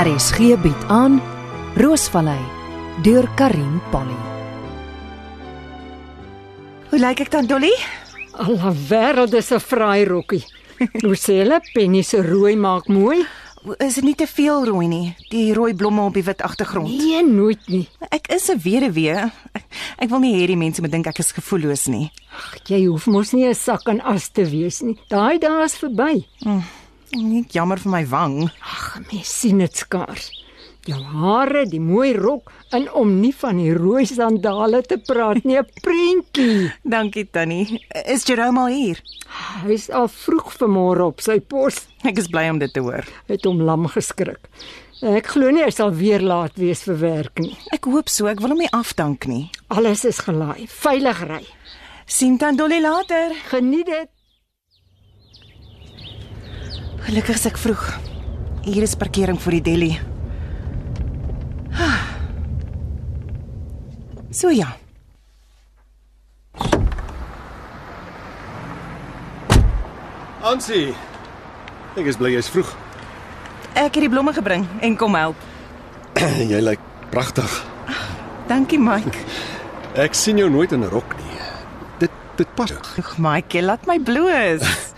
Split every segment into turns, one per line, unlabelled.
RSG bied aan Roosvallei deur Karin Polly.
Hoe lyk ek dan, Dolly?
Alla wêreld is 'n fraai rokkie. Hoe sê hulle pennie se rooi maak mooi?
O, Is dit nie te veel rooi nie? Die rooi blomme op die wit agtergrond.
Nee, nooit nie.
Ek is 'n weduwee. Ek, ek wil nie hê die mense moet dink ek is gevoelloos nie.
Ag, jy hoef mos nie 'n sak aan as te wees nie. Daai dae is verby.
Nee, jammer vir my wang.
Ag, mens sien dit skaars. Jou hare, die mooi rok en om nie van die rooi sandale te praat nie, 'n prentjie.
Dankie, Tannie. Is Jerome al hier?
Hy is al vroeg vanmôre op sy pos.
Ek is bly om dit te hoor.
Het hom lam geskrik. Ek glo nie hy sal weer laat wees vir werk nie.
Ek hoop so. Ek wil hom nie afdank nie.
Alles is gelaai. Veilig ry.
Sien dan Dolly later.
Geniet dit.
Gelukkig is ek vroeg. Hier is parkering vir die deli. Ah. So ja.
Ansie. Ek is bly jy's vroeg.
Ek het die blomme gebring en kom help.
jy lyk pragtig.
Dankie, Mike.
Ek sien jou nooit in 'n rok nie. Dit dit pas. ook.
Ag, Mike, jy laat my bloos.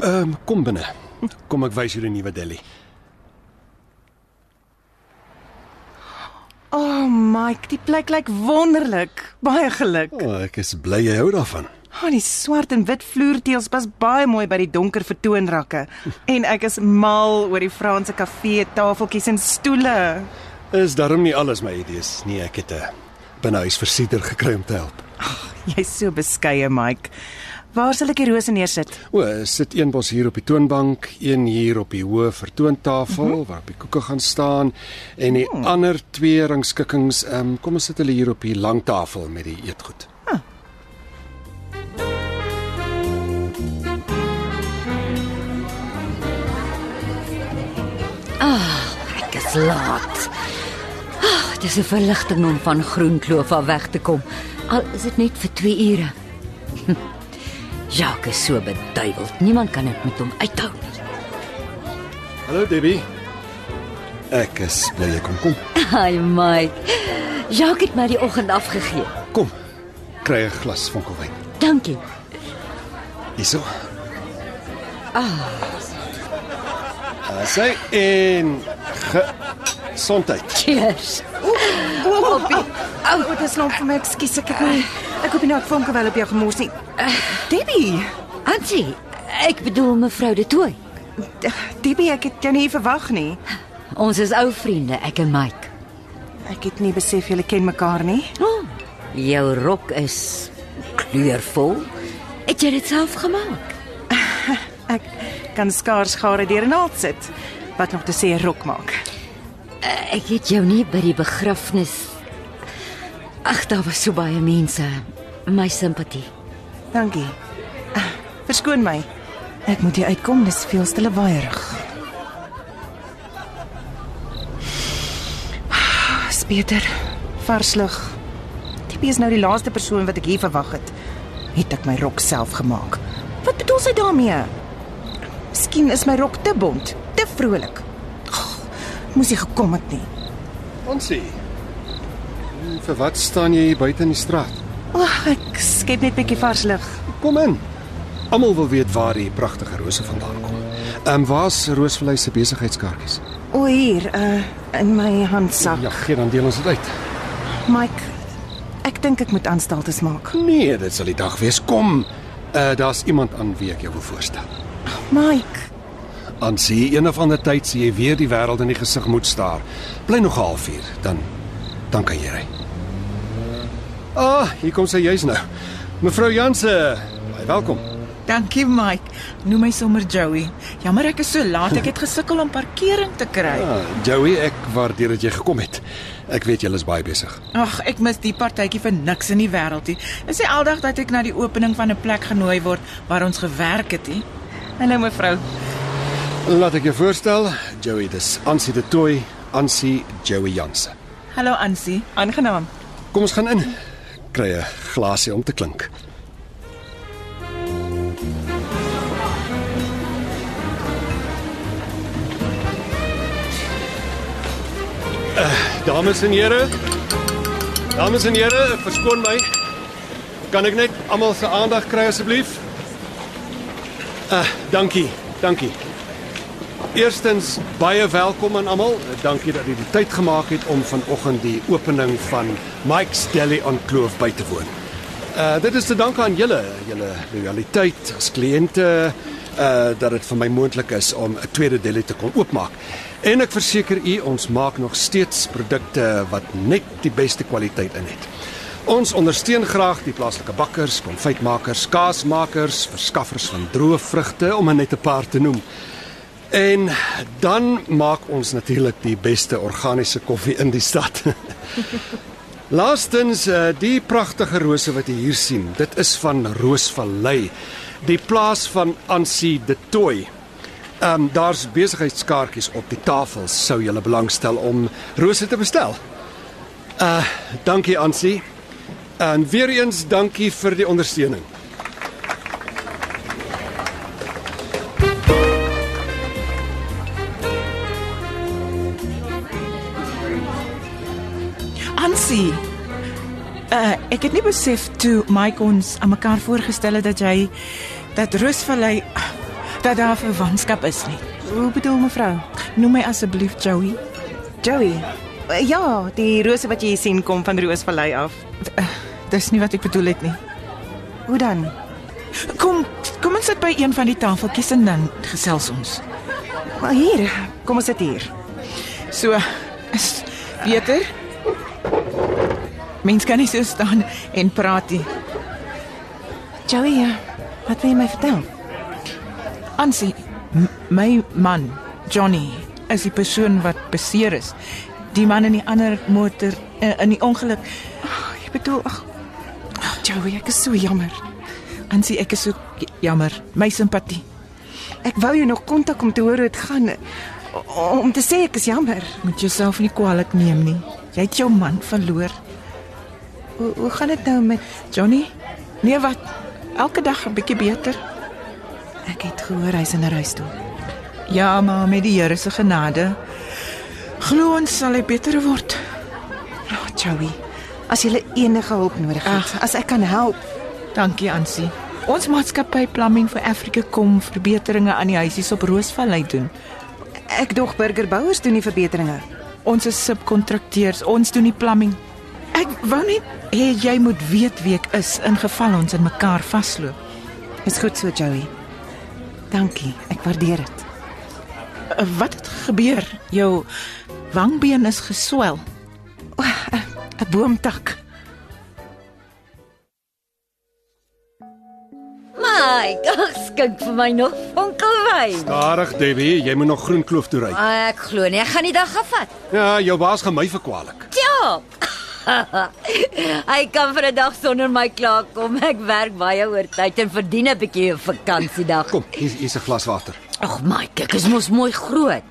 Ehm um, kom binne. Kom ek wys jou die nuwe Delhi.
O, oh, Mike, die plek lyk wonderlik. Baie geluk.
O, oh, ek is bly jy hou daarvan.
Oh, die swart en wit vloerteëls pas baie mooi by die donker vertoonrakke. En ek is mal oor die Franse kafee tafeltjies en stoele.
Is daarom nie alles my idees nie. Ek het 'n binnehuis versieder gekry om te help.
Jy's so beskeie, Mike. Waar sal ek die rose neersit?
O, sit een bos hier op die toonbank, een hier op die hoë vertoontafel mm -hmm. waarop die koeke gaan staan en die mm. ander twee rangskikkings, ehm um, kom ons sit hulle hier op die lang tafel met die eetgoed.
Ek is laat. Ah, Ag, dis 'n verligting om van Groenkloof af weg te kom. Al is dit net vir 2 ure. Hm, Jacques is so beduiweld. Niemand kan dit met hom uithou nie.
Hallo Debbie. Ek is bly jy kom kom.
Ai my. Jacques het my die oggend afgegee.
Kom. Kry 'n glas vonkelwyn.
Dankie.
Hierso. Ah. Ah, sy en gesondheid.
Cheers.
O, Poppy. Ou, oh, dit is lank vir my. Ekskuus, ek het nie. Ek hoop nie ek vonke wel op jou gemors nie. Debbie,
Ansie, ek bedoel mevrou De Tooy.
Eh, Debbie, ek het jou nie verwag nie.
Ons is ou vriende, ek en Mike.
Ek het nie besef julle ken mekaar nie.
Oh, jou rok is kleurvol. Het jy dit self gemaak?
Ek kan skaars gare deur 'n naald sit. Wat nog te sê 'n rok maak.
Eh, Ek het jou nie by die begrafnis Ag, daar was so baie mense. My simpatie.
Dankie. Ah, Verskoon my. Ek moet hier uitkom, dis veel te lewaierig. Ah, Is beter. Vars lug. Tippie is nou die laaste persoon wat ek hier verwag het. Het ek my rok self gemaak. Wat bedoel sy daarmee? Miskien is my rok te bont, te vrolik. Oh, moes nie gekom het nie.
Ansie. Hmm, Vir wat staan jy hier buite in die straat?
Ag, ek skep net 'n bietjie vars lug.
Kom in. Almal wil weet waar hierdie pragtige rose vandaan kom. Ehm um, waar's Roosvlei se besigheidskaartjies?
O, hier, uh in my handsak.
Ja, gee dan deel ons dit uit.
Mike, ek dink ek moet aanstaltes maak.
Nee, dit sal die dag wees. Kom. Uh daar's iemand aan wie ek jou wil voorstel.
Mike,
Aan sien een of ander tyd sien jy weer die wêreld in die gesig moet staar. Bly nog 'n halfuur, dan dan kan jy ry. Ah, hier kom sy juis nou. Mevrou Jansen, baie welkom.
Dankie Mike. Noem my sommer Joey. Jammer ek is so laat. Ek het gesukkel om parkering te kry.
Ah, Joey, ek waardeer dat jy gekom het. Ek weet jy is baie besig.
Ag, ek mis die partytjie vir niks in die wêreld nie. Is nie aldag dat ek na die opening van 'n plek genooi word waar ons gewerk het nie.
hallo mevrou.
Laat ek jou voorstel, Joey dis Ansie de Tooi, Ansie Joey Jansen.
Hallo Ansie.
Aangenaam.
Kom ons gaan in. Kry 'n glasie om te klink. Eh, Dames en here. Dames en here, ek verskoon my. Kan ek net almal se aandag kry asseblief? Ah, dankie. Dankie. Eerstens baie welkom aan almal. Dankie dat julle die tyd gemaak het om vanoggend die opening van Mike's Deli on Kloof by te woon. Uh dit is te danke aan julle, julle loyaliteit as kliënte uh dat dit vir my moontlik is om 'n tweede deli te kon oopmaak. En ek verseker u ons maak nog steeds produkte wat net die beste kwaliteit in het. Ons ondersteun graag die plaaslike bakkers, konfytmakers, kaasmakers, verskaffers van droë vrugte om maar net 'n paar te noem. En dan maak ons natuurlik die beste organiese koffie in die stad. Laastens eh, die pragtige rose wat jy hier sien. Dit is van Roosvallei, die plaas van Ansie de Tooi. Ehm um, daar's besigheidskaartjies op die tafel sou jy belangstel om rose te bestel. Uh dankie Ansie. En weer eens dankie vir die ondersteuning.
Ansie. Uh ek het nie besef toe Mike ons aan mekaar voorgestel het dat jy dat Roosvallei dat daar 'n verwantskap is nie.
Hoe bedoel mevrou?
Noem my asseblief Joey.
Joey. Uh, Ja, die rose wat jy hier sien kom van Roosvallei af.
Dis nie wat ek bedoel het nie.
Hoe dan?
Kom, kom ons sit by een van die tafeltjies en dan gesels ons.
Maar hier, kom ons sit hier.
So is beter. Mens kan nie so staan en praat nie.
Joey, eh, wat wil jy my vertel?
Ansie, m- my man, Johnny, is die persoon wat beseer is. Die man in die ander motor eh, in die ongeluk.
Ek bedoel, ag. Joey, ek is so jammer.
Ansie, ek is so j- jammer. My simpatie.
Ek wou jou nog kontak om te hoor hoe dit gaan. o- Om te sê ek is jammer.
Moet jouself nie kwaadlik neem nie. Jy het jou man verloor,
Hoe hoe gaan dit nou met
Johnny. Nee, wat? Elke dag 'n bietjie beter.
Ek het gehoor hy's in 'n huisdom.
Ja, maar met die Here se genade glo ons sal hy beter word.
Ja, Joey. As jy enige hulp nodig het, as ek kan help.
Dankie Ansie. Ons maatskappy Plumbing for Africa kom verbeteringe aan die huisies op Roosvallei doen.
Ek dog burgerbouers doen die verbeteringe.
Ons is subkontrakteurs, ons doen die plumbing. Ek wou net hê jy moet weet wie ek is in geval ons in mekaar vasloop.
Is goed so, Joey. Dankie. Ek waardeer dit.
Uh, Wat het gebeur? Jou wangbeen is geswel.
'n Boomtak.
My, ag skink vir my nog fonkelwyn.
Stadig Debbie, jy moet nog groen kloof toe ry.
Ek glo nie, ek gaan die dag gevat.
Ja, jou baas gaan my verkwalik.
Ja. Hy kan vir 'n dag sonder my klaarkom. Ek werk baie oortyd en verdien 'n bietjie 'n vakansiedag.
Kom, hier's hier's 'n glas water.
Ag my, kyk, is mos mooi groot.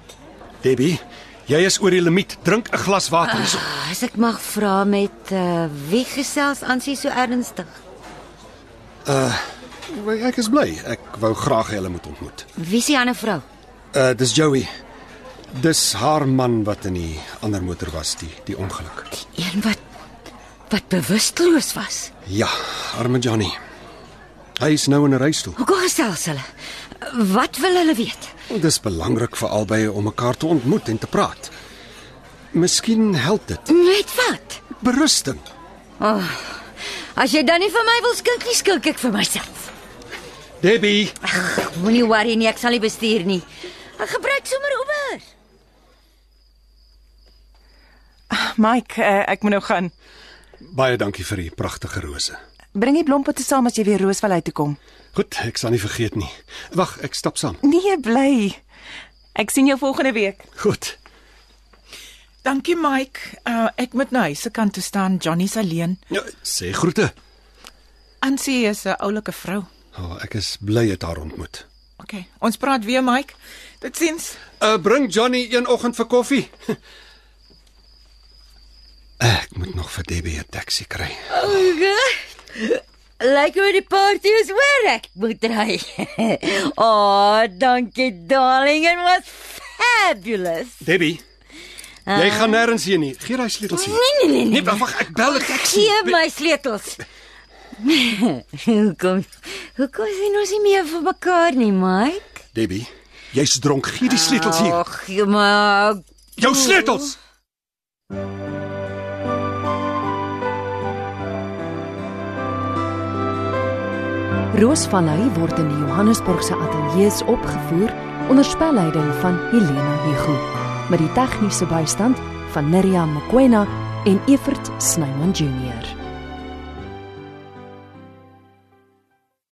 Debbie, jy is oor die limiet. Drink 'n glas water. Hier's-
As ek mag vra met uh, wie gesels aansie so ernstig?
Ek is bly. Ek wou graag hê hulle moet ontmoet.
Wie is die ander vrou?
Uh dis Joey. Dis haar man wat in die ander motor was, die die ongeluk.
Een wat wat bewusteloos was.
Ja, arme Johnny. Hy is nou in 'n reistoel.
Hoe kom gesels hulle? Wat wil hulle weet?
Dis belangrik vir albei om mekaar te ontmoet en te praat. Miskien help dit.
Net wat?
Berusting.
As jy dan nie vir my wil skink nie, skink ek vir myself.
Debbie,
Moenie worry nie, ek sal nie bestuur nie. Ek gebruik sommer Uber.
Mike, uh, ek moet nou gaan.
baie dankie vir die pragtige rose.
Bring die blompotte saam as jy weer Roosvallei toe kom.
Goed, ek sal nie vergeet nie. Wag, ek stap saam.
Nee, bly. Ek sien jou volgende week.
Goed.
Dankie Mike. Uh, ek moet na huis se kant toe staan. Johnny's alleen.
Ja, sê groete.
Ansie is 'n oulike vrou.
O, oh, ek is bly het haar ontmoet.
OK, ons praat weer Mike. Tot sins.
Uh, bring Johnny een oggend vir koffie. Ek moet nog vir Debbie 'n taxi kry.
Lyk hoe die party is oor ek moet ry. O, oh, dankie darling, it was fabulous.
Debbie, Jy gaan nêrens heen nie. Gee daai sleutels hier.
Eh. Nee, nee, nee, nee.
Nee, wag, wag, ek bel 'n taxi.
Gee my sleutels. hoekom? Hoekom is jy nou nie meer vir mekaar nie, Mike?
Debbie, jy's dronk. Gee
Oh.
die sleutels hier.
Ag, maar
Jou sleutels.
Roosvallei word in die Johannesburg se ateljees opgevoer onder spelleiding van Helena Hugo met die tegniese bystand van Neriya Mkwena en Evert Snyman Junior.